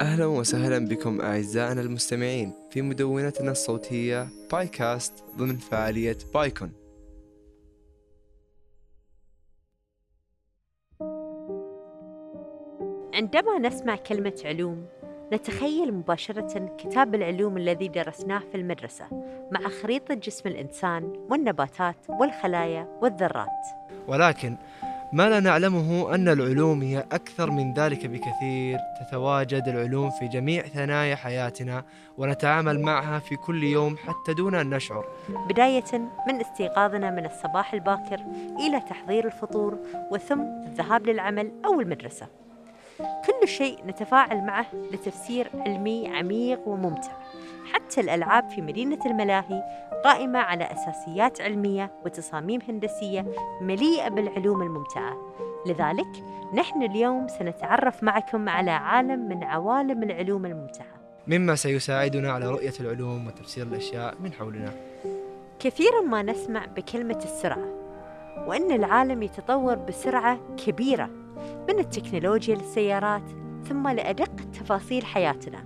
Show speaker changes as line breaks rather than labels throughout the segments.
أهلا وسهلا بكم أعزائنا المستمعين في مدونتنا الصوتية بايكاست ضمن فعالية بايكون
عندما نسمع كلمة علوم نتخيل مباشرة كتاب العلوم الذي درسناه في المدرسة مع خريطة جسم الإنسان والنباتات والخلايا والذرات
ولكن ما لا نعلمه أن العلوم هي أكثر من ذلك بكثير تتواجد العلوم في جميع ثنايا حياتنا ونتعامل معها في كل يوم حتى دون أن نشعر
بداية من استيقاظنا من الصباح الباكر إلى تحضير الفطور وثم الذهاب للعمل أو المدرسة كل شيء نتفاعل معه لتفسير علمي عميق وممتع حتى الألعاب في مدينة الملاهي قائمة على أساسيات علمية وتصاميم هندسية مليئة بالعلوم الممتعة لذلك نحن اليوم سنتعرف معكم على عالم من عوالم العلوم الممتعة
مما سيساعدنا على رؤية العلوم وتفسير الأشياء من حولنا
كثيرا ما نسمع بكلمة السرعة وأن العالم يتطور بسرعة كبيرة من التكنولوجيا للسيارات ثم لأدق تفاصيل حياتنا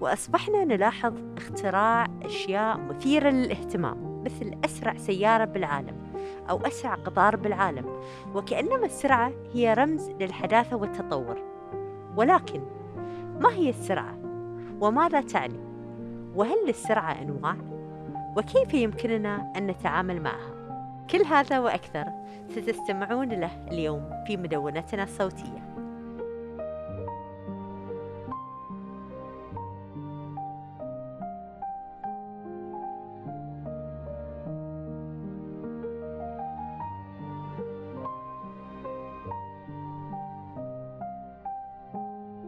وأصبحنا نلاحظ اختراع أشياء مثيرة للاهتمام مثل أسرع سيارة بالعالم أو أسرع قطار بالعالم وكأنما السرعة هي رمز للحداثة والتطور ولكن ما هي السرعة؟ وماذا تعني؟ وهل للسرعة أنواع؟ وكيف يمكننا أن نتعامل معها؟ كل هذا وأكثر ستستمعون له اليوم في مدونتنا الصوتية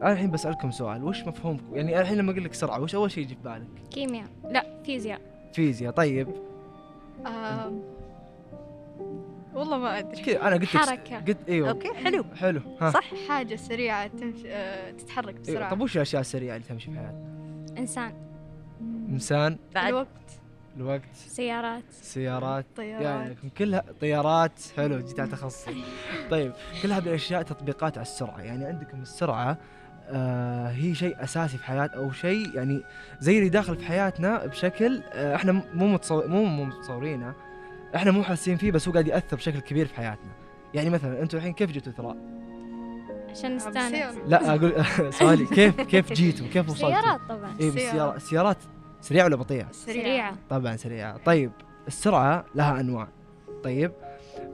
أنا الحين بسألكم سؤال وش مفهومكم يعني أنا الحين لما أقول لك سرعة وش أول شيء يجي في بالك
كيمياء لا فيزياء
فيزياء طيب
آم، والله ما أدري
كذا أنا قلت لك س-
حركة.
قلت أيوه
أوكي حلو
حلو ها
صح
حاجة سريعة تمشي آه، تتحرك
أيوه.
بسرعة
طب وش الأشياء السريعة اللي تمشي في حياتنا
إنسان
إنسان
بعد
الوقت
الوقت
سيارات
سيارات يعني
طيارات آه،
لكم كلها طيارات حلو جيت على تخصصي طيب كلها من الاشياء تطبيقات على السرعه يعني عندكم السرعه آه هي شيء اساسي في حياه او شيء يعني زي اللي داخل في حياتنا بشكل آه احنا مو متصور مو مو متصورينه احنا مو حاسين فيه بس هو قاعد ياثر بشكل كبير في حياتنا يعني مثلا انتم الحين كيف جيتوا ترى؟
آه،
عشان نستانس
بالسيارة.
لا آه. اقول سؤالي كيف كيف جيتوا؟ كيف وصلتوا؟ إيه،
سيارات طبعا
اي بالسيارات السيارات سريعه ولا بطيئه؟
سريعة
طبعا سريعة طيب السرعة لها أنواع طيب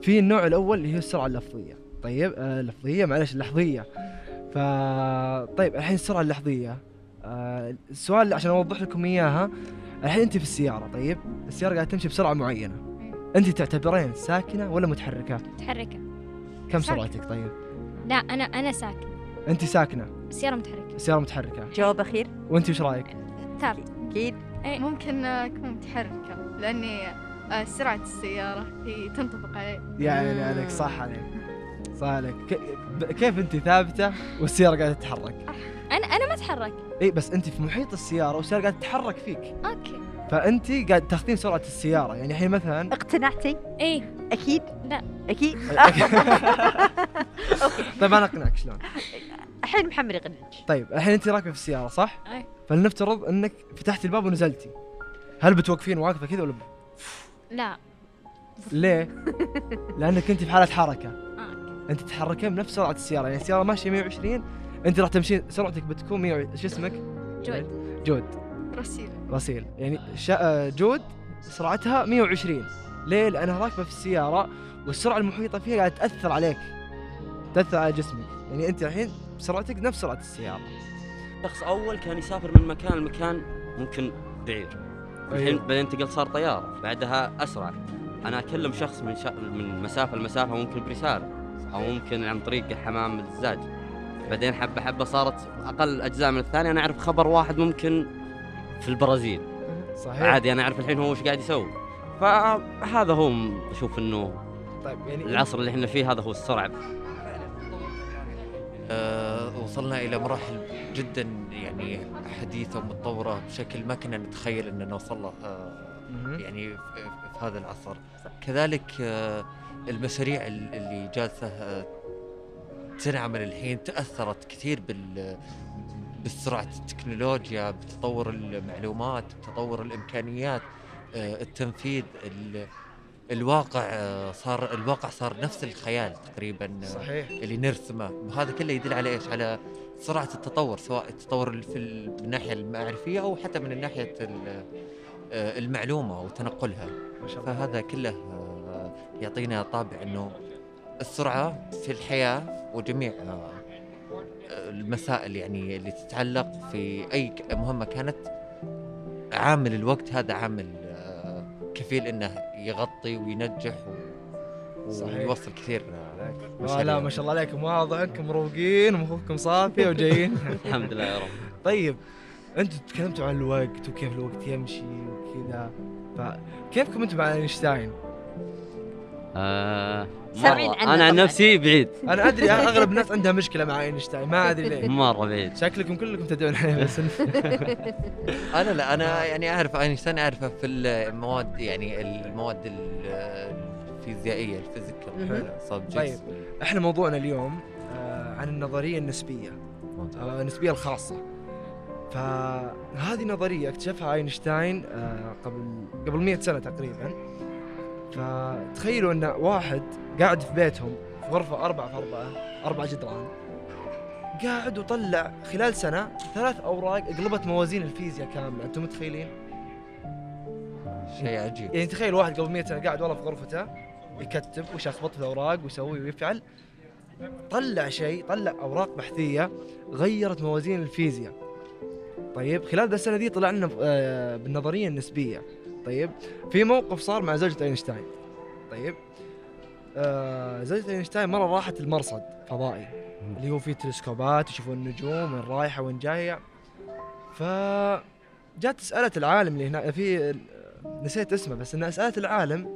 في النوع الأول اللي هي السرعة اللفظية طيب آه لفظية معلش لحظية ف طيب الحين السرعة اللحظية آه السؤال اللي عشان أوضح لكم إياها الحين أنت في السيارة طيب السيارة قاعدة تمشي بسرعة معينة أنت تعتبرين ساكنة ولا متحركة؟
متحركة
كم
ساكنة.
سرعتك طيب؟
لا أنا أنا ساكن
أنت ساكنة
السيارة متحركة
السيارة متحركة
جواب أخير
وأنت وش رأيك؟
ثابت
أكيد
ممكن آه، أكون متحركة لأني آه، سرعة السيارة هي تنطبق علي
يا عيني عليك صح عليك صح عليك ك- كيف أنت ثابتة والسيارة قاعدة تتحرك؟
أنا أنا ما أتحرك
اي إيه، بس انت في محيط السياره والسياره قاعده تتحرك فيك
أوكي
فانت قاعد تاخذين سرعه السياره يعني الحين مثلا
اقتنعتي؟
إيه
أكيد؟
لا.
أكيد؟
طيب انا اقنعك شلون
الحين محمد يقنعك
طيب الحين انت راكبه في السياره صح
أي.
فلنفترض انك فتحتي الباب ونزلتي هل بتوقفين واقفه كذا ولا ب-
لا
ليه لانك انت في حاله حركه
أوكي
انت تتحركين بنفس سرعه السياره يعني السياره ماشيه 120 انت راح تمشين سرعتك بتكون 100 شو اسمك
جود
جود
رسيل
رسيل يعني شا... جود سرعتها 120 ليه لانها راكبه في السياره والسرعه المحيطه فيها قاعده تاثر عليك تاثر على جسمك يعني انت الحين سرعتك نفس سرعه السياره
شخص اول كان يسافر من مكان لمكان ممكن بعير الحين
أيوه.
بعدين انتقل صار طياره بعدها اسرع انا اكلم شخص من شا... من مسافه لمسافه ممكن برساله او ممكن عن طريق حمام الزاج بعدين حبه حبه صارت اقل اجزاء من الثانيه انا اعرف خبر واحد ممكن في البرازيل
صحيح
عادي انا اعرف الحين هو ايش قاعد يسوي فهذا هو م- اشوف انه
طيب يعني
العصر اللي احنا فيه هذا هو السرعه
آه، وصلنا إلى مراحل جدا يعني حديثة ومتطورة بشكل ما كنا نتخيل أننا نوصل له آه،
مهم.
يعني في- في هذا العصر كذلك آه، المشاريع ال- اللي جالسة آه، تنعمل الحين تأثرت كثير بال بسرعه التكنولوجيا بتطور المعلومات بتطور الامكانيات آه، التنفيذ ال- الواقع آه، صار الواقع صار نفس الخيال تقريبا آه،
صحيح
اللي نرسمه هذا كله يدل على ايش على سرعه التطور سواء التطور في ال- من الناحيه المعرفيه او حتى من ناحيه ال- آه، المعلومه وتنقلها
ما شاء الله
فهذا كله آه، يعطينا طابع انه السرعه في الحياه وجميع آه، المسائل يعني اللي تتعلق في اي ك- مهمه كانت عامل الوقت هذا عامل آه، كفيل انه يغطي وينجح و-
صحيح.
ويوصل كثير آه،
آه لا ما شاء الله عليكم واضح انكم مروقين ومخكم صافي وجايين
الحمد لله يا رب
طيب انتم تكلمتوا عن الوقت وكيف الوقت يمشي وكذا فكيفكم انتم مع اينشتاين؟
آه
سامعين
مرة.
عنه
انا عن
طبعاً.
نفسي بعيد
انا ادري اغلب الناس عندها مشكله مع اينشتاين ما ادري ليه
مره بعيد
شكلكم كلكم تدعون عليه بس
انا لا
نعم.
انا يعني اعرف اينشتاين اعرفه في المواد يعني المواد ال- الفيزيائيه الفيزيكال
مهم.
صاب
طيب.
جيكس.
احنا موضوعنا اليوم آه عن النظريه النسبيه آه، النسبيه الخاصه فهذه نظريه اكتشفها اينشتاين آه، قبل قبل 100 سنه تقريبا فتخيلوا ان واحد قاعد في بيتهم في غرفه أربعة في أربعة أربعة جدران قاعد وطلع خلال سنه ثلاث اوراق قلبت موازين الفيزياء كامله انتم متخيلين
شيء عجيب
يعني تخيل واحد قبل 100 سنه قاعد والله في غرفته يكتب ويشخبط في الاوراق ويسوي ويفعل طلع شيء طلع اوراق بحثيه غيرت موازين الفيزياء طيب خلال ذا السنه دي طلعنا آه، بالنظريه النسبيه طيب في موقف صار مع زوجة اينشتاين طيب آه زوجة اينشتاين مره راحت المرصد فضائي اللي هو فيه تلسكوبات يشوفون النجوم وين رايحه وين جايه ف جات سالت العالم اللي هنا في نسيت اسمه بس انها سالت العالم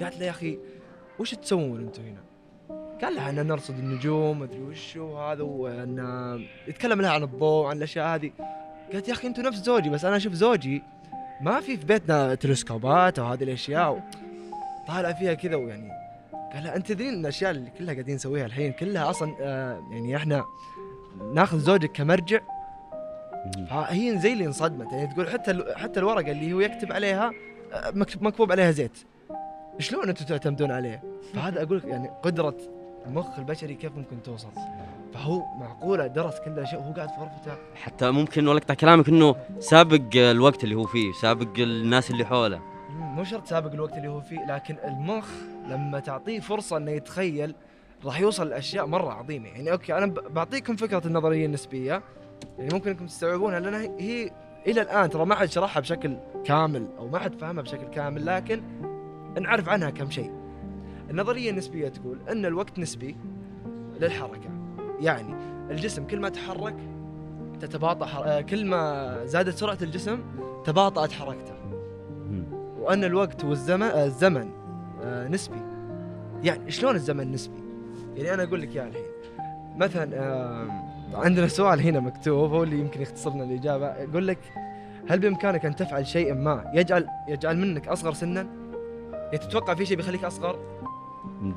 قالت له يا اخي وش تسوون انتم هنا؟ قال لها ان نرصد النجوم ادري وش وهذا وان يتكلم لها عن الضوء عن الاشياء هذه قالت يا اخي انتم نفس زوجي بس انا اشوف زوجي ما في في بيتنا تلسكوبات وهذه الاشياء طالع فيها كذا ويعني قال لها انت تدرين إن الاشياء اللي كلها قاعدين نسويها الحين كلها اصلا آه يعني احنا ناخذ زوجك كمرجع فهي زي اللي انصدمت يعني تقول حتى ال- حتى الورقه اللي هو يكتب عليها آه، مكتوب مكتوب عليها زيت شلون انتم تعتمدون عليه؟ فهذا اقول لك يعني قدره المخ البشري كيف ممكن توصل فهو معقوله درس كل شيء وهو قاعد في غرفته
حتى ممكن ولا اقطع كلامك انه سابق الوقت اللي هو فيه سابق الناس اللي حوله
مم، مو شرط سابق الوقت اللي هو فيه لكن المخ لما تعطيه فرصه انه يتخيل راح يوصل لاشياء مره عظيمه يعني اوكي انا ب- بعطيكم فكره النظريه النسبيه يعني ممكن انكم تستوعبونها لان هي الى الان ترى ما حد شرحها بشكل كامل او ما حد فهمها بشكل كامل لكن نعرف عنها كم شيء. النظريه النسبيه تقول ان الوقت نسبي للحركه يعني الجسم كل ما تحرك تتباطأ حر... آه، كل ما زادت سرعه الجسم تباطأت حركته. وان الوقت والزمن آه، الزمن آه، نسبي يعني شلون الزمن نسبي يعني انا اقول لك يا الحين مثلا آه، عندنا سؤال هنا مكتوب هو اللي يمكن يختصر لنا الاجابه يقول لك هل بامكانك ان تفعل شيئا ما يجعل يجعل منك اصغر سنا يعني تتوقع في شيء بيخليك اصغر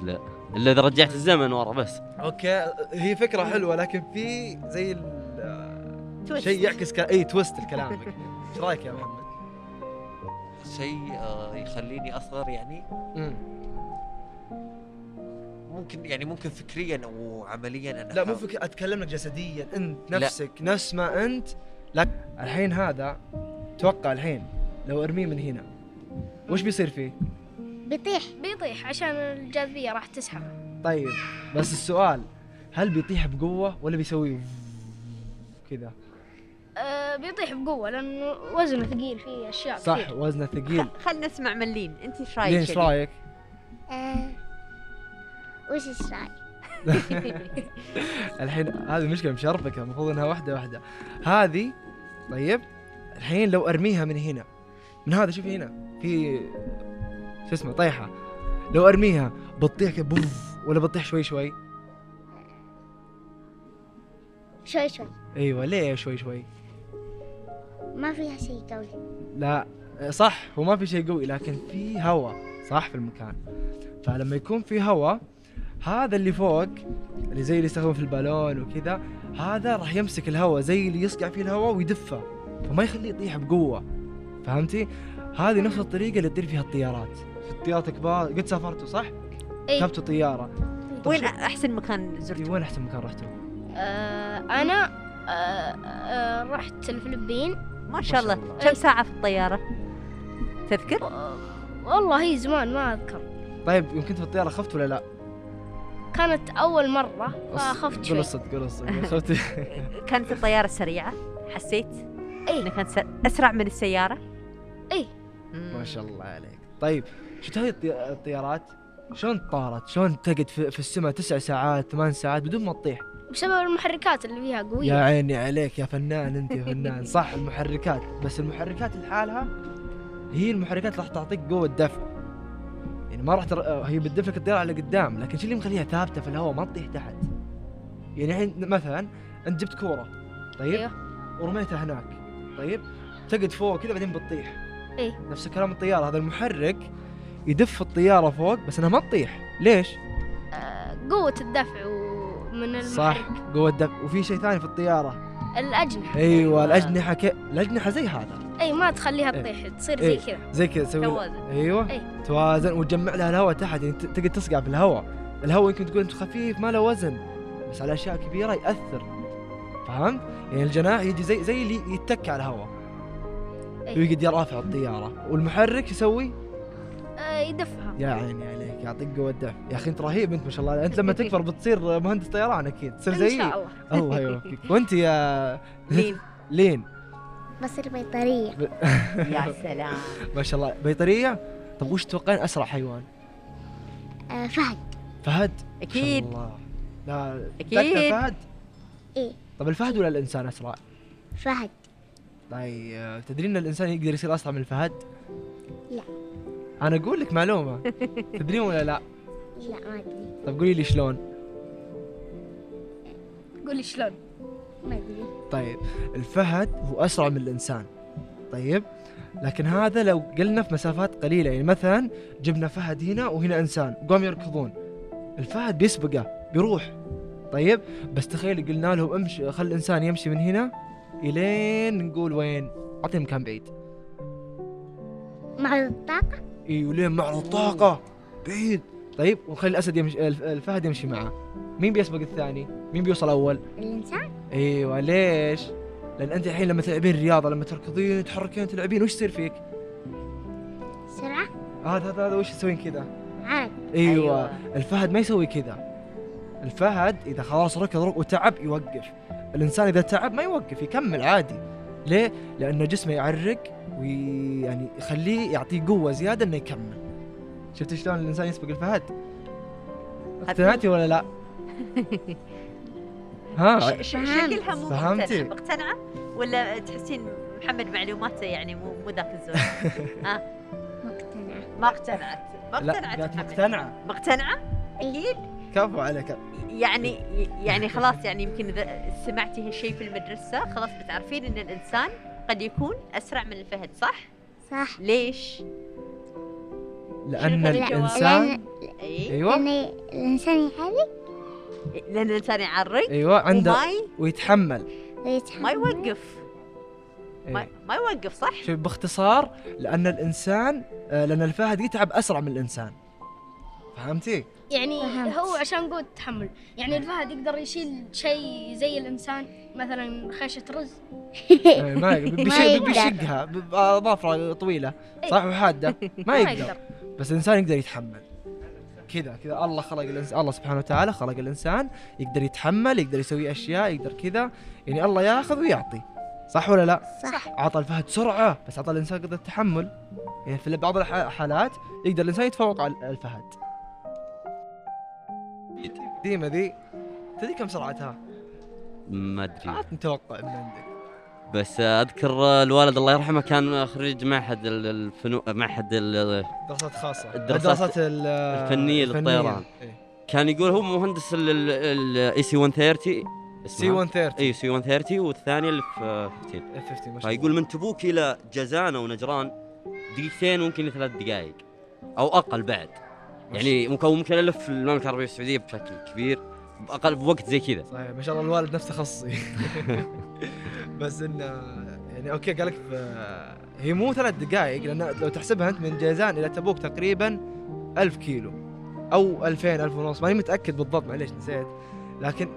لا الا اذا رجعت الزمن ورا بس
اوكي هي فكره حلوه لكن في زي ال- آه، شيء يعكس ك- اي تويست لكلامك ايش رايك يا محمد
شيء آه، يخليني اصغر يعني
مم.
ممكن يعني ممكن فكريا وعمليا انا
لا مو
أحاول.
فكرة اتكلم لك جسديا انت
لا.
نفسك نفس ما انت لا الحين هذا توقع الحين لو ارميه من هنا وش بيصير فيه؟
بيطيح بيطيح عشان الجاذبية راح تسحبه
طيب بس السؤال هل بيطيح بقوة ولا بيسوي كذا؟
أه بيطيح بقوة لأنه وزنه ثقيل فيه أشياء
صح
كثير
وزنه ثقيل
خلنا نسمع من لين انت ايش
لين
رايك
ايش رايك؟
وش ايش رايك؟
الحين هذه مشكلة مشربكة المفروض انها واحدة واحدة هذه طيب الحين لو ارميها من هنا من هذا شوفي هنا في شو اسمه طيحة لو ارميها بتطيح كده بوف ولا بتطيح شوي شوي؟
شوي شوي
ايوه ليه شوي شوي؟
ما فيها شيء قوي
لا صح هو ما في شيء قوي لكن في هواء صح في المكان فلما يكون في هواء هذا اللي فوق اللي زي اللي يستخدمه في البالون وكذا هذا راح يمسك الهواء زي اللي يصقع فيه الهواء ويدفه فما يخليه يطيح بقوه فهمتي؟ هذه نفس الطريقه اللي تطير فيها الطيارات في الطيارات الكبار قد سافرتوا صح؟
إي.
ركبتوا طياره
وين احسن مكان
إي،
زرته؟
وين احسن مكان رحتوا؟
أه،
آه انا آه آه رحت الفلبين
ما شاء الله كم ساعه في الطياره؟ تذكر؟
آه، والله هي زمان ما اذكر
طيب يوم كنت في الطياره خفت ولا لا؟
كانت اول مره فخفت
قول
آه، شوي
الصدق قول الصدق خفت
كانت الطياره سريعه؟ حسيت؟
إي.
انها كانت سر- اسرع من السياره؟
إي.
مم.
ما شاء الله عليك طيب شفت هذه الطي- الطيارات شلون طارت شلون تقعد في, في السماء تسع ساعات ثمان ساعات بدون ما تطيح
بسبب المحركات اللي فيها
يا
قويه
عيني عليك يا فنان انت يا فنان صح المحركات بس المحركات لحالها هي المحركات راح تعطيك قوه دفع يعني ما راح تر... هي بتدفعك الطياره على قدام لكن شو اللي مخليها ثابته في الهواء ما تطيح تحت يعني الحين مثلا انت جبت كوره طيب
أيوه.
ورميتها هناك طيب تقعد فوق كذا بعدين بتطيح
إيه.
نفس الكلام الطياره هذا المحرك يدف الطياره فوق بس انها ما تطيح ليش
آه قوه الدفع ومن
صح
المحرك
قوه دفع وفي شيء ثاني في الطياره
الاجنحه
ايوه الاجنحه ك... الاجنحه زي هذا
اي ما تخليها
إيه.
تطيح تصير
إيه.
زي كذا
زي كذا تسوي
توازن.
ايوه
إيه.
توازن وتجمع لها الهواء تحت يعني ت- تقدر تصقع في الهواء الهواء يمكن تقول انت خفيف ما له وزن بس على اشياء كبيره ياثر فهمت؟ يعني الجناح يجي زي زي اللي يتك على الهواء
إيه.
ويقعد يرافع الطياره والمحرك يسوي
آه يدفها
يا عيني عليك يعطيك قوه دفع يا اخي انت رهيب انت ما شاء الله انت لما تكبر بتصير مهندس طيران اكيد تصير
ان
زيي
شاء الله
الله يوفقك وانت يا
لين
لين
بصير بيطرية
يا سلام
ما شاء الله بيطريه طب وش تتوقعين اسرع حيوان؟
آه فهد
فهد ما شاء
اكيد
الله. لا
أكيد.
تعرف الفهد؟
إيه.
طب الفهد ولا الانسان اسرع؟
فهد
طيب تدري ان الانسان يقدر يصير اسرع من الفهد؟
لا.
انا اقول لك معلومه تدرين ولا لا؟
لا ما أدري
طب قولي لي شلون؟
قولي شلون
ما أدري
طيب الفهد هو اسرع من الانسان طيب لكن هذا لو قلنا في مسافات قليله يعني مثلا جبنا فهد هنا وهنا انسان قام يركضون الفهد بيسبقه بيروح طيب بس تخيل قلنا لهم امشي خل الانسان يمشي من هنا الين نقول وين؟ اعطيه مكان بعيد
معرض الطاقة
اي ولين معرض الطاقة بعيد طيب ونخلي الاسد يمشي الف- الفهد يمشي معه مين بيسبق الثاني؟ مين بيوصل اول؟
الإنسان
ايوه ليش؟ لان انت الحين لما تلعبين رياضة لما تركضين تحركين تلعبين وش يصير فيك؟
سرعة
هذا هذا هذا وش يسوين كذا؟
عرض
ايوه الفهد ما يسوي كذا الفهد اذا خلاص ركض ركض وتعب يوقف الانسان اذا تعب ما يوقف يكمل عادي ليه لانه جسمه يعرق ويعني يخليه يعطيه قوه زياده انه يكمل شفت شلون الانسان يسبق الفهد اقتنعتي ولا لا ها
ش- ش- شكلها مو
فهمتي.
مقتنعة مقتنعة ولا تحسين محمد معلوماته يعني مو مو ذاك الزود
مقتنعة
ما اقتنعت ما
لا
اقتنعت
قالت
محمد.
مقتنعه
مقتنعة
أكيد
كفو عليك
يعني يعني خلاص يعني يمكن اذا سمعتي هالشيء في المدرسة خلاص بتعرفين ان الانسان قد يكون اسرع من الفهد صح؟
صح
ليش؟
لان
لا،
الانسان
لأن-
اي
ايوه
لأن الإنسان يحرك
لان الانسان يعرق
ايوه عنده
وما ي-
ويتحمل
ويتحمل
ما يوقف ما,
إيه.
ما يوقف صح؟
شوف باختصار لان الانسان آه، لان الفهد يتعب اسرع من الانسان فهمتي؟
يعني
فهمت.
هو عشان قوه التحمل يعني الفهد يقدر يشيل شيء زي الانسان مثلا خيشه رز
إيه، ما يق- بيشي-
يقدر.
بيشقها ب- آه، باظافره طويله صح وحاده إيه. ما يقدر بس الانسان يقدر يتحمل كذا كذا الله خلق الانسان الله سبحانه وتعالى خلق الانسان يقدر يتحمل يقدر يسوي اشياء يقدر كذا يعني الله ياخذ ويعطي صح ولا لا؟
صح
عطى الفهد سرعه بس عطى الانسان قدره التحمل يعني في بعض الح- الحالات يقدر الانسان يتفوق على الفهد ديما ذي تدري كم سرعتها؟
ما ادري
عاد نتوقع من عندك
بس اذكر الوالد الله يرحمه كان خريج معهد ال- الفنو معهد ال-
دراسات خاصه
الدراسات
الدراسات ال-
الفنية للطيران.
إيه.
كان يقول هو مهندس الاي سي 130
سي
نعم.
130
اي سي 130 والثانيه اللي في 15
F 50 ما شاء الله
إيه. فيقول من تبوك الى جزانه ونجران دقيقتين ممكن ثلاث دقائق او اقل بعد يعني ممكن ممكن الف المملكه العربيه السعوديه بشكل كبير باقل بوقت زي كذا
صحيح طيب، ما شاء الله الوالد نفسه تخصصي بس انه يعني اوكي قال لك ف- هي مو ثلاث دقائق لان لو تحسبها انت من جازان الى تبوك تقريبا ألف كيلو او 2000 1000 ونص ماني متاكد بالضبط معليش نسيت لكن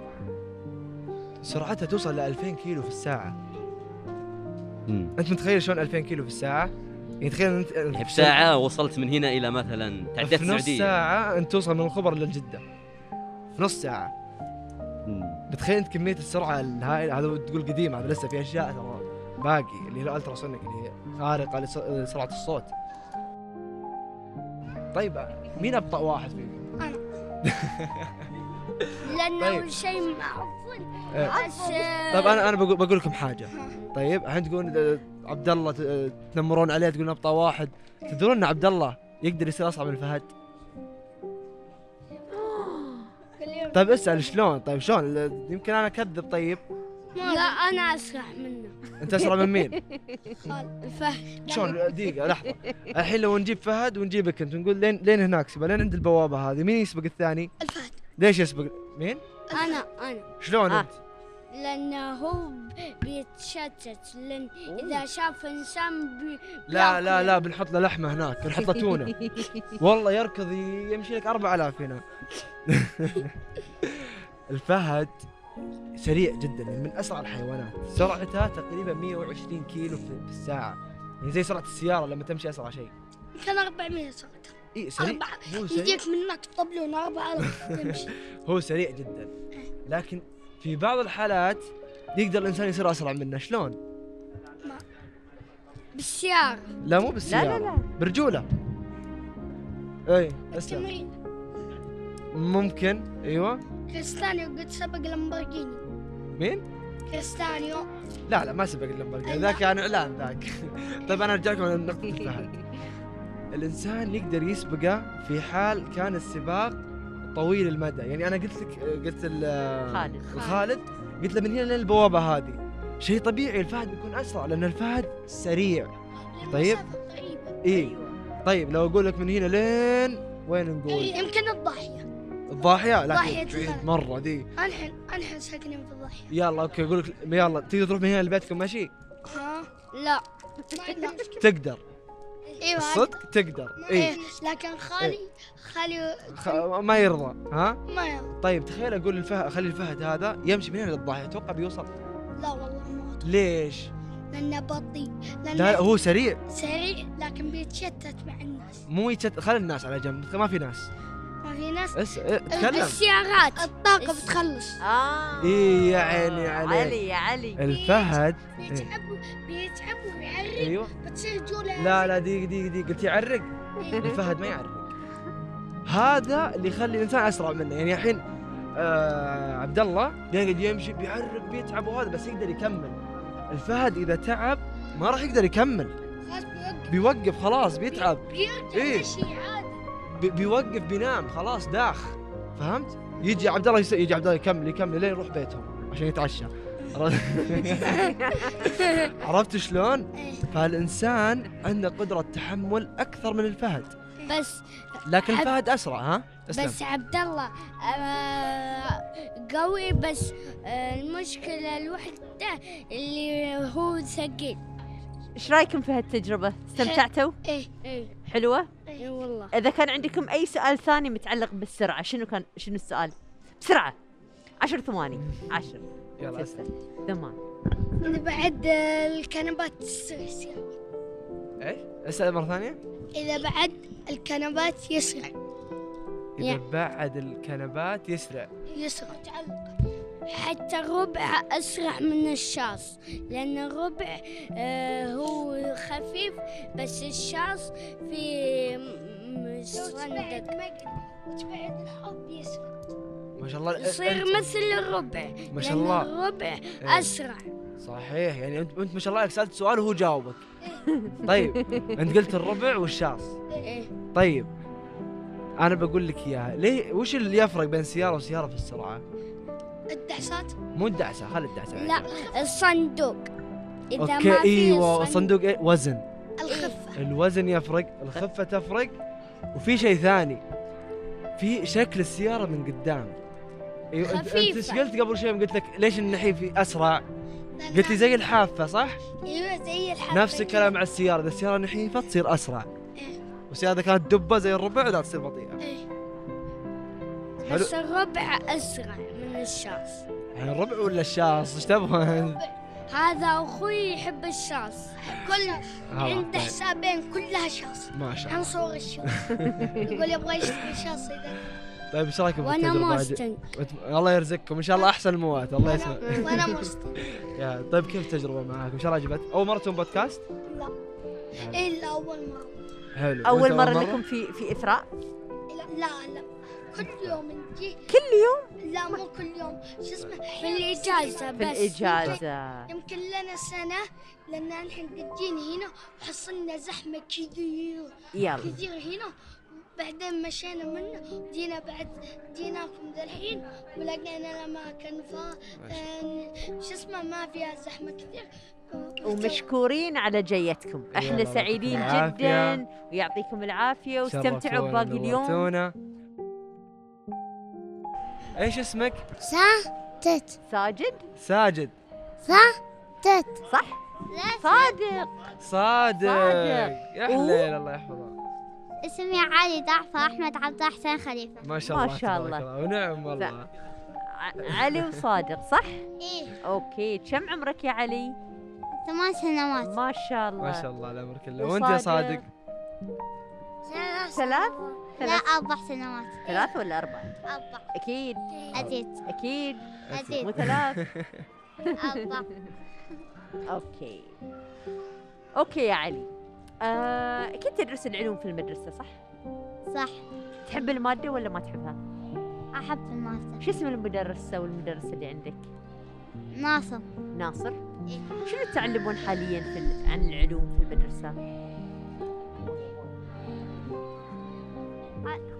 سرعتها توصل ل 2000 كيلو في الساعه انت متخيل شلون 2000 كيلو في الساعه يعني تخيل انت
يعني بساعه وصلت من هنا الى مثلا تعديت
في نص
السعوديه
ساعه انت توصل من الخبر للجده في نص ساعه
مم.
بتخيل انت كميه السرعه الهائله هذا تقول قديم هذا لسه في اشياء ترى باقي اللي هي الالترا سونيك اللي هي خارقه لسرعه الصوت طيب مين ابطا واحد فيكم؟
لانه
طيب.
شيء معفن
إيه.
بس آه،
طيب انا انا بقول, بقول لكم حاجه طيب الحين تقول آه، عبد الله ت- آه، تنمرون عليه تقولون ابطا واحد تدرون ان عبد الله يقدر يصير اصعب من فهد
كل يوم
طيب اسال شلون طيب شلون ال- يمكن انا اكذب طيب
لا انا اسرع منه
انت اسرع من مين
فهد
شلون دقيقه لحظه الحين لو نجيب فهد ونجيبك انت ونقول لين لين هناك سبا لين عند البوابه هذه مين يسبق الثاني
الفهد
ليش يسبق مين
انا انا
شلون
آه.
انت
لانه هو بيتشتت لان اذا شاف انسان بي...
لا لا لا بنحط له لحمه هناك بنحط له تونه والله يركض يمشي لك 4000 هنا الفهد سريع جدا يعني من اسرع الحيوانات سرعته تقريبا 120 كيلو في في الساعه يعني زي سرعه السياره لما تمشي اسرع شيء
كان 400 صوت
اي سريع
أربعة
هو سريع
يجيك منك طبلون أربعة تمشي
هو سريع جدا لكن في بعض الحالات يقدر الانسان يصير اسرع منه شلون
بالسيارة
لا مو
لا
بالسياره
لا لا
برجوله اي اسلم
تمرين
ممكن ايوه
كريستانيو قد سبق لامبورجيني
مين
كريستانيو
لا لا ما سبق اللمبرجيني ذاك كان اعلان ذاك طيب انا ارجع لكم على نقطة الفهد الانسان يقدر يسبقه في حال كان السباق طويل المدى يعني انا قلت لك قلت ال-
خالد
الخالد قلت له من هنا للبوابة هذه شيء طبيعي الفهد بيكون اسرع لان الفهد سريع طيب. اي
أيوة.
طيب لو اقول لك من هنا لين وين نقول
إيه، يمكن الضاحية
إيه. الضاحية لا
ضاحية
بعيد
الفهد.
مرة دي
أنحن أنحن ساكنين في الضاحية
يلا اوكي اقول لك يلا تقدر تروح من هنا لبيتكم ماشي
ها لا لا.
تقدر إيه،
ايوه
الصدق إيه. تقدر
إيه،
اي
لكن خالي خالي
ما يرضى ها
ما يرضى
طيب تخيل اقول الفهد خلي الفهد هذا يمشي من هنا للضاحيه اتوقع بيوصل
لا والله ما أرضى.
ليش؟
لأنه بطيء
لا لا
لأنه
هو سريع
سريع لكن بيتشتت مع الناس
مو يتشت خلي الناس على جنب ما في ناس
ما في ناس
اس اه، تكلم
السيارات الطاقة بتخلص
اه
إي إيه، يا عيني عليك.
علي يا علي
الفهد
بيتعب بيتعب ويعرق
ايوه
بتصير جولة إيه.
لا لا دقيقه دقيقه دقيقه قلت يعرق الفهد ما يعرق هذا اللي يخلي الانسان اسرع منه يعني الحين آه عبد الله يقعد يمشي بيعرق بيتعب وهذا بس يقدر يكمل الفهد اذا تعب ما راح يقدر يكمل
خلاص بيوقف
بيوقف خلاص بيتعب
بيرجع
إيه.
مشي عادي
بي- بيوقف بينام خلاص داخ فهمت؟ يجي عبد الله يس- يجي عبد الله يكمل يكمل لين يروح بيتهم عشان يتعشى عرفت شلون؟ فالانسان عنده قدره تحمل اكثر من الفهد
بس
لكن
عب-
الفهد اسرع ها؟ اسلم
بس عبد الله آه، قوي بس آه، المشكلة الوحدة اللي هو ثقيل
ايش رايكم في هالتجربه استمتعتوا
ايه ايه
حلوه
اي والله
اذا كان عندكم اي سؤال ثاني متعلق بالسرعه شنو كان شنو السؤال بسرعه عشر ثواني عشر
يلا اسلم
تسعة ثمان
بعد الكنبات السويسية
ايش؟ اسال مره ثانيه؟
إذا بعد الكنبات يسرع
اذا بعد الكنبات يسرع
يسرع حتى الربع أسرع من الشاص لأن الربع آه، هو خفيف بس الشاص في م- م- صندوق تبعد الحب يسرع
ما شاء الله إيه،
يصير
أنت-
مثل الربع
ما شاء الله
الربع
إيه.
أسرع
صحيح يعني انت انت ما شاء الله سالت سؤال وهو جاوبك طيب انت قلت الربع والشاص
إيه.
طيب انا بقول لك اياها ليه وش اللي يفرق بين سياره وسياره في السرعه
الدعسات
مو الدعسه خلي الدعسه
لا الصندوق إذا
اوكي
ما في
ايوه
الصندوق
الصندوق إيه؟ وزن
الخفة
الوزن يفرق الخفه تفرق وفي شيء ثاني في شكل السياره من قدام ايوه أنت- انت ايش
خفيفة.
قلت قبل شوي يوم قلت لك ليش النحيف اسرع؟ قلت لي زي الحافه صح؟
ايوه زي الحرف
نفس الكلام مع السياره اذا السياره نحيفه تصير اسرع والسياره اذا كانت دبه زي الربع لا تصير بطيئه
بس الربع اسرع من الشخص
يعني الربع ولا الشاص ايش تبغى؟
هذا اخوي يحب الشخص كل
هلا،
عنده
طيب.
حسابين كلها شخص
ما شاء الله
عن صور الشخص يقول يبغى يشتري شخص اذا
طيب ايش رايكم
وانا
بالتجربه هذه؟
موستن
وت- الله يرزقكم ان شاء الله احسن الموات الله يسلمك
وانا موستن
يا طيب كيف التجربه معاكم؟ شو عجبت؟ اول مره تسوون بودكاست؟
الا اول مره
حلو وأنت
اول مره لكم في في اثراء
لا لا لا كل يوم نجي
كل يوم
لا مو كل يوم شو اسمه في
الإجازة
في
بس
الاجازه
يمكن لنا سنة لأن نحن قاعدين هنا وحصلنا زحمة كثير
يلا
كثير هنا بعدين مشينا منه جينا بعد جيناكم ذا الحين ولقينا الأماكن ف آه، شو اسمه ما فيها زحمة كثير
ومشكورين على جيتكم
الله
احنا
يعطيكم
سعيدين
العافية.
جدا ويعطيكم العافيه واستمتعوا
شرفتونا
بباقي اليوم
ونورتونا. ايش اسمك؟
سا تت
ساجد
ساجد
سا تت
صح
لا
صادق
صادق
صادق.
يا
و-
حليل الله يحفظه
اسمي علي ضعفة أحمد عبد الله حسين خليفة
ما شاء
ما
الله
شاء
تبارك
الله.
ونعم والله
ع- علي وصادق صح
إيه
اوكي كم عمرك يا علي
ثمان سنوات
ما شاء الله
ما شاء الله العمر كله وانت يا
وصادق.
صادق
ثلاث
لا
ثلاث
أربع سنوات
ثلاث ولا أربعة
أربع
أكيد
أديت
أكيد مو
أديت
ثلاث
أربع
أوكي أوكي يا علي آه، كنت تدرس العلوم في المدرسة صح؟
صح
تحب المادة ولا ما تحبها؟
أحب الماستر
شو اسم المدرسة والمدرسة اللي عندك؟
ناصر
ناصر؟
إيه.
شنو تعلمون حاليا في ال- عن العلوم في المدرسة؟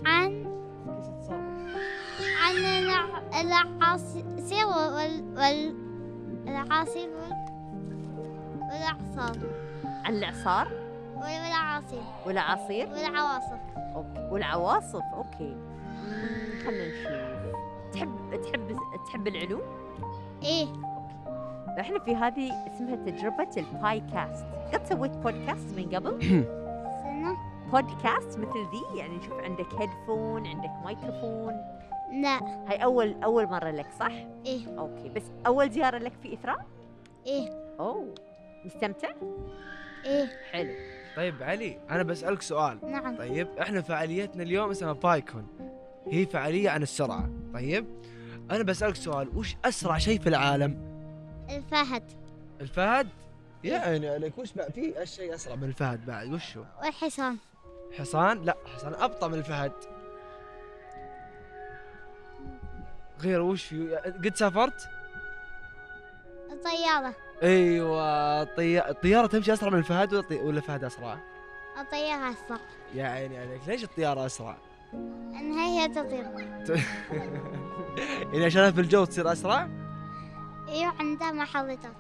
عن عن الع- العصير وال وال العصير وال والأعصاب
عن الإعصار
وال- والعصير
والعصير
والعواصف
أوكي. والعواصف أوكي مم، خلنا نشوف تحب تحب تحب العلوم؟
إيه
احنا في هذه اسمها تجربة الباي كاست قد سويت بودكاست من قبل
سنة
بودكاست مثل ذي يعني نشوف عندك هيدفون عندك مايكروفون
لا
هاي اول اول مرة لك صح
إيه.
اوكي بس اول زيارة لك في اثراء
إيه
اوه مستمتع
إيه
حلو
طيب علي انا بسالك سؤال
نعم
طيب احنا فعاليتنا اليوم اسمها بايكون هي فعاليه عن السرعه طيب انا بسالك سؤال وش اسرع شيء في العالم
الفهد
الفهد يعني عليك وش بقى في شيء اسرع من الفهد بعد وش هو
والحصان
حصان لا حصان ابطا من الفهد غير وش في قد سافرت
الطيارة
ايوه طي... الطياره تمشي اسرع من الفهد ولا, طي... ولا الفهد اسرع
الطيارة أسرع
يا عيني عليك ليش الطياره اسرع
إنها هي تطير
يعني عشانها في الجو تصير اسرع
إيه عندها محركات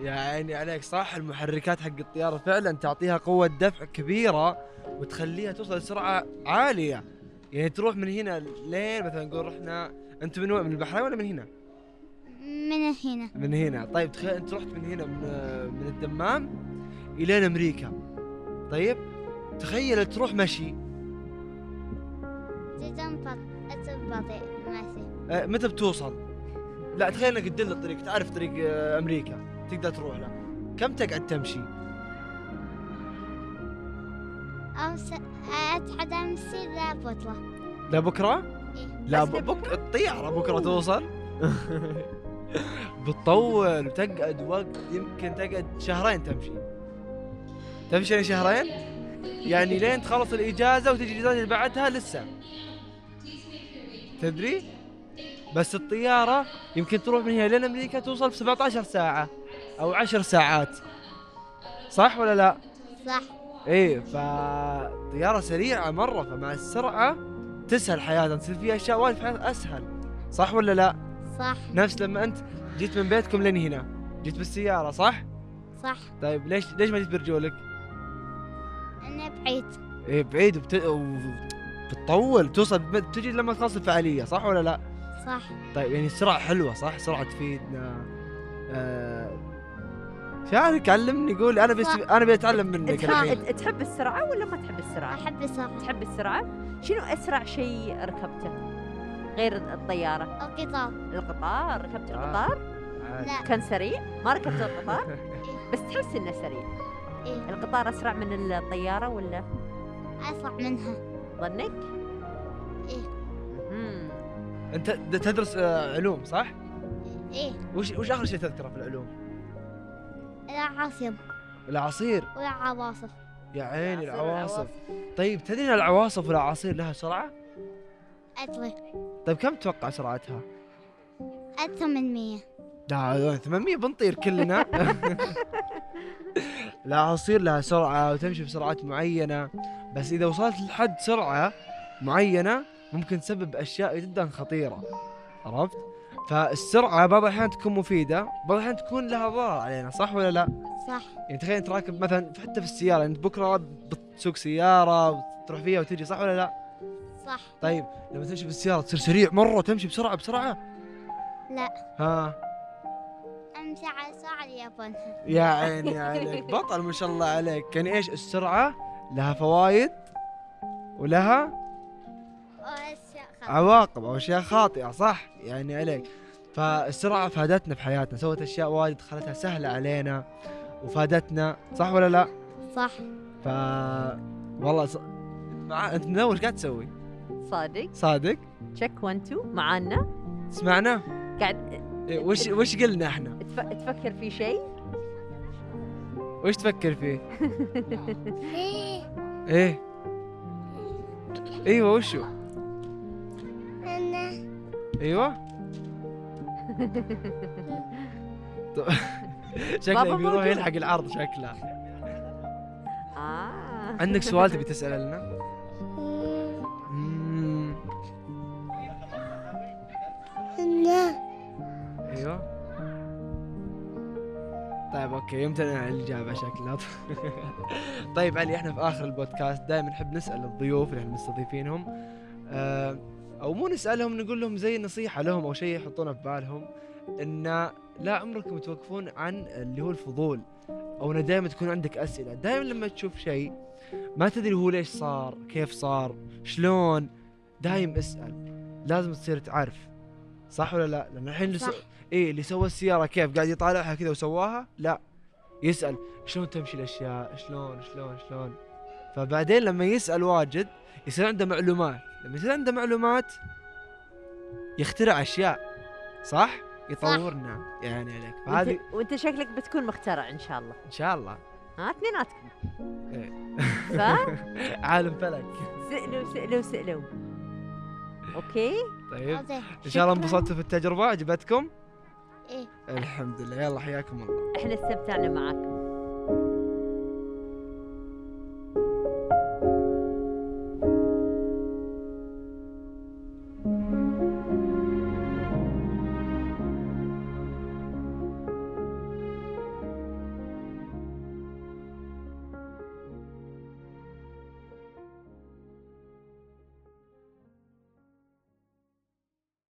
يا عيني عليك صح المحركات حق الطيارة فعلا تعطيها قوة دفع كبيرة وتخليها توصل لسرعة عالية يعني تروح من هنا لين مثلا نقول رحنا انت من وين من البحرين ولا من هنا؟
من هنا
من هنا طيب تخيل انت رحت من هنا من, من الدمام الين امريكا طيب تخيل تروح مشي
تجنبط البطيء ماشي
آه، متى بتوصل؟ لا تخيل انك تدل الطريق تعرف طريق آه، امريكا تقدر تروح له كم تقعد تمشي؟
أو س... أتحد أمشي لا بطلة
لبكره؟
إيه.
لا
بس
ب- بك الطيارة بكرة توصل بتطول وتقعد وقت يمكن تقعد شهرين تمشي تمشي لين شهرين يعني لين تخلص الإجازة وتجي الإجازة اللي بعدها لسه تدري بس الطيارة يمكن تروح من هنا لين أمريكا توصل في 17 ساعة أو 10 ساعات صح ولا لا؟
صح
ايه فطيارة سريعة مرة فمع السرعة تسهل حياتنا تصير فيها اشياء وايد في حياتنا اسهل صح ولا لا؟
صح
نفس لما انت جيت من بيتكم لين هنا جيت بالسيارة صح؟
صح
طيب ليش ليش ما جيت برجولك؟
أنا بعيد
إيه، ايه بعيد وبت... و- بتطول توصل تجي لما تخلص الفعاليه صح ولا لا؟
صح
طيب يعني السرعة حلوة صح؟ سرعة تفيدنا آه... شارك علمني قول أنا بس
صح.
أنا بتعلم منك الحين
تحب تحب السرعة ولا ما تحب السرعة؟
احب السرعه
تحب السرعة؟ شنو أسرع شيء ركبته؟ غير الطيارة،
القطار
القطار، ركبت
آه.
القطار؟
عادي.
لا
كان سريع؟ ما ركبت القطار؟ بس تحس إنه سريع،
إيه.
القطار أسرع من الطيارة ولا
اسرع منها
ظنك؟
إيه.
مم.
أنت د- تدرس آه، علوم صح؟
ايه
وش وش آخر شيء تذكره في العلوم؟
لا عاصم
الأعاصير
ولا عواصف
يا عيني
عصير
العواصف طيب تدري إن العواصف والأعاصير لها سرعة؟
ادري
طيب كم تتوقع سرعتها؟
اكثر من 100
لا 800 بنطير كلنا العصير لها سرعة وتمشي بسرعات معينة بس إذا وصلت لحد سرعة معينة ممكن تسبب أشياء جدا خطيرة عرفت؟ فالسرعة بعض الأحيان تكون مفيدة بعض الأحيان تكون لها ضرر علينا صح ولا لا؟
صح
يعني تخيل أنت راكب مثلا حتى في السيارة أنت بكرة بتسوق سيارة وتروح فيها وتجي صح ولا لا؟
صح
طيب لما تمشي بالسيارة تصير سريع مرة وتمشي بسرعة بسرعة؟
لا.
ها
امشي على سرعه اليابان
يا عيني عليك بطل ما شاء الله عليك يعني ايش السرعة لها فوائد ولها
واشياء خطر
عواقب او اشياء خاطئة صح يعني عليك فالسرعة فادتنا في حياتنا سوت اشياء وايد خلتها سهلة علينا وفادتنا صح ولا لا؟
صح
ف والله ص... مع... انت من اول قاعد تسوي
صادق؟
صادق
تشيك 1 2 معانا؟
سمعنا
قاعد
إيه، وش وش قلنا احنا
تف... تفكر في شيء؟
وش تفكر فيه
ايه
ايه ايوه وشو
انا
ايوه طب-
بابا
شكله بيروح
موجود.
يلحق العرض شكله
آه
عندك سؤال تبي تسأله لنا؟ مم،
انا
ايوه طيب اوكي يمتنع عن الاجابه شكلها طيب علي احنا في اخر البودكاست دائما نحب نسال الضيوف اللي احنا مستضيفينهم آه، او مو نسالهم نقول لهم زي نصيحه لهم او شيء يحطونه في بالهم ان لا عمركم توقفون عن اللي هو الفضول او انه دائما تكون عندك اسئله دائما لما تشوف شيء ما تدري هو ليش صار كيف صار شلون دايم اسال لازم تصير تعرف صح ولا لا لان الحين اللي سو...
صح.
ايه اللي سوى السياره كيف قاعد يطالعها كذا وسواها لا يسال شلون تمشي الاشياء شلون شلون شلون فبعدين لما يسال واجد يصير عنده معلومات لما يصير عنده معلومات يخترع اشياء صح يطورنا يعني عليك فهذه
وانت... وانت شكلك بتكون مخترع ان شاء الله
ان شاء الله
ها اثنيناتكم
إيه.
صح؟
عالم فلك
سألوا سألوا سألوا اوكي
طيب ان شاء الله انبسطتوا في التجربه عجبتكم
إيه.
الحمد لله يلا حياكم الله
احنا استمتعنا معاكم